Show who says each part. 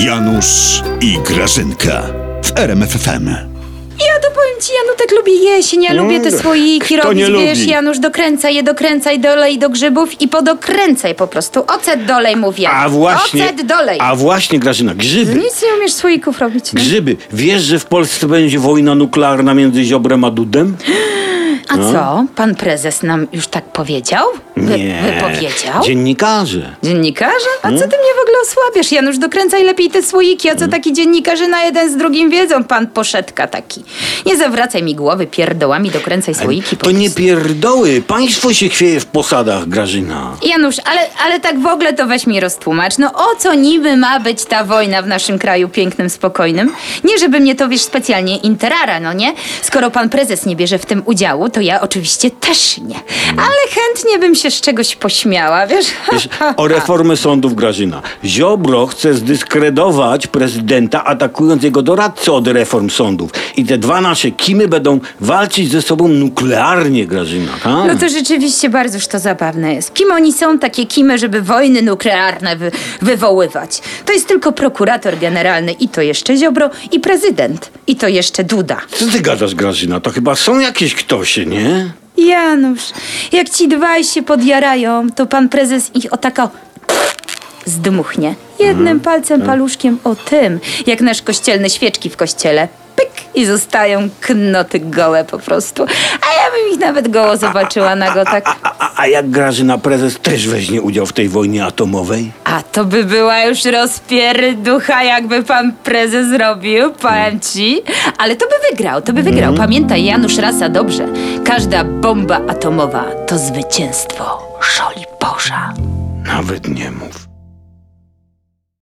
Speaker 1: Janusz i Grażynka w RMFFM.
Speaker 2: Ja to powiem ci, Janutek lubi jesień, ja lubię
Speaker 3: Mm.
Speaker 2: te słoiki
Speaker 1: kto
Speaker 2: robić,
Speaker 1: nie
Speaker 2: wiesz,
Speaker 1: lubi?
Speaker 2: Janusz, dokręcaj je, dokręcaj, dolej do grzybów i podokręcaj po prostu. Ocet dolej, mówię.
Speaker 3: A właśnie.
Speaker 2: Ocet dolej.
Speaker 3: A właśnie, Grażyna, grzyby.
Speaker 2: Nic nie umiesz słoików robić. No.
Speaker 3: Grzyby. Wiesz, że w Polsce będzie wojna nuklearna między Ziobrem a Dudem?
Speaker 2: A co? Pan prezes nam już tak powiedział? Wy, Wypowiedział?
Speaker 3: Dziennikarze.
Speaker 2: Dziennikarze? A
Speaker 3: Hmm?
Speaker 2: co ty mnie w ogóle osłabiasz, Janusz? Dokręcaj lepiej te słoiki, a co taki dziennikarze na jeden z drugim wiedzą? Pan poszedka taki. Nie zawracaj mi głowy pierdołami, dokręcaj słoiki po
Speaker 3: To nie
Speaker 2: prostu.
Speaker 3: pierdoły. Państwo się chwieje w posadach, Grażyna.
Speaker 2: Janusz, ale, ale tak w ogóle to weź mi roztłumacz. No o co niby ma być ta wojna w naszym kraju pięknym, spokojnym? Nie, żeby mnie to, wiesz, specjalnie interara, no nie? Skoro pan prezes nie bierze w tym udziału, to ja oczywiście też nie. Ale chętnie bym się z czegoś pośmiała, wiesz?
Speaker 3: Wiesz, o reformę sądów Grażyna. Ziobro chce zdyskredować prezydenta, atakując jego doradcę od reform sądów. I te dwa nasze kimy będą walczyć ze sobą nuklearnie, Grażyna. tak?
Speaker 2: No to rzeczywiście bardzo to zabawne jest. Kim oni są takie kimy, żeby wojny nuklearne wy- wywoływać? To jest tylko prokurator generalny i to jeszcze Ziobro i prezydent. I to jeszcze Duda.
Speaker 3: Co ty gadasz, Grażyna? To chyba są jakieś ktosie, nie?
Speaker 2: Janusz, jak ci dwaj się podjarają, to pan prezes ich o taka zdmuchnie. Jednym palcem, paluszkiem o tym, jak nasz kościelne świeczki w kościele. Pyk! I zostają knoty gołe po prostu. A ja bym ich nawet goło zobaczyła nago tak.
Speaker 3: A, a, a jak Grażyna prezes też weźmie udział w tej wojnie atomowej?
Speaker 2: A to by była już rozpierducha, jakby pan prezes zrobił, powiem ci. Ale to by wygrał, to by wygrał. Pamiętaj, Janusz Rasa, dobrze. Każda bomba atomowa to zwycięstwo żoli Boża.
Speaker 3: Nawet nie mów.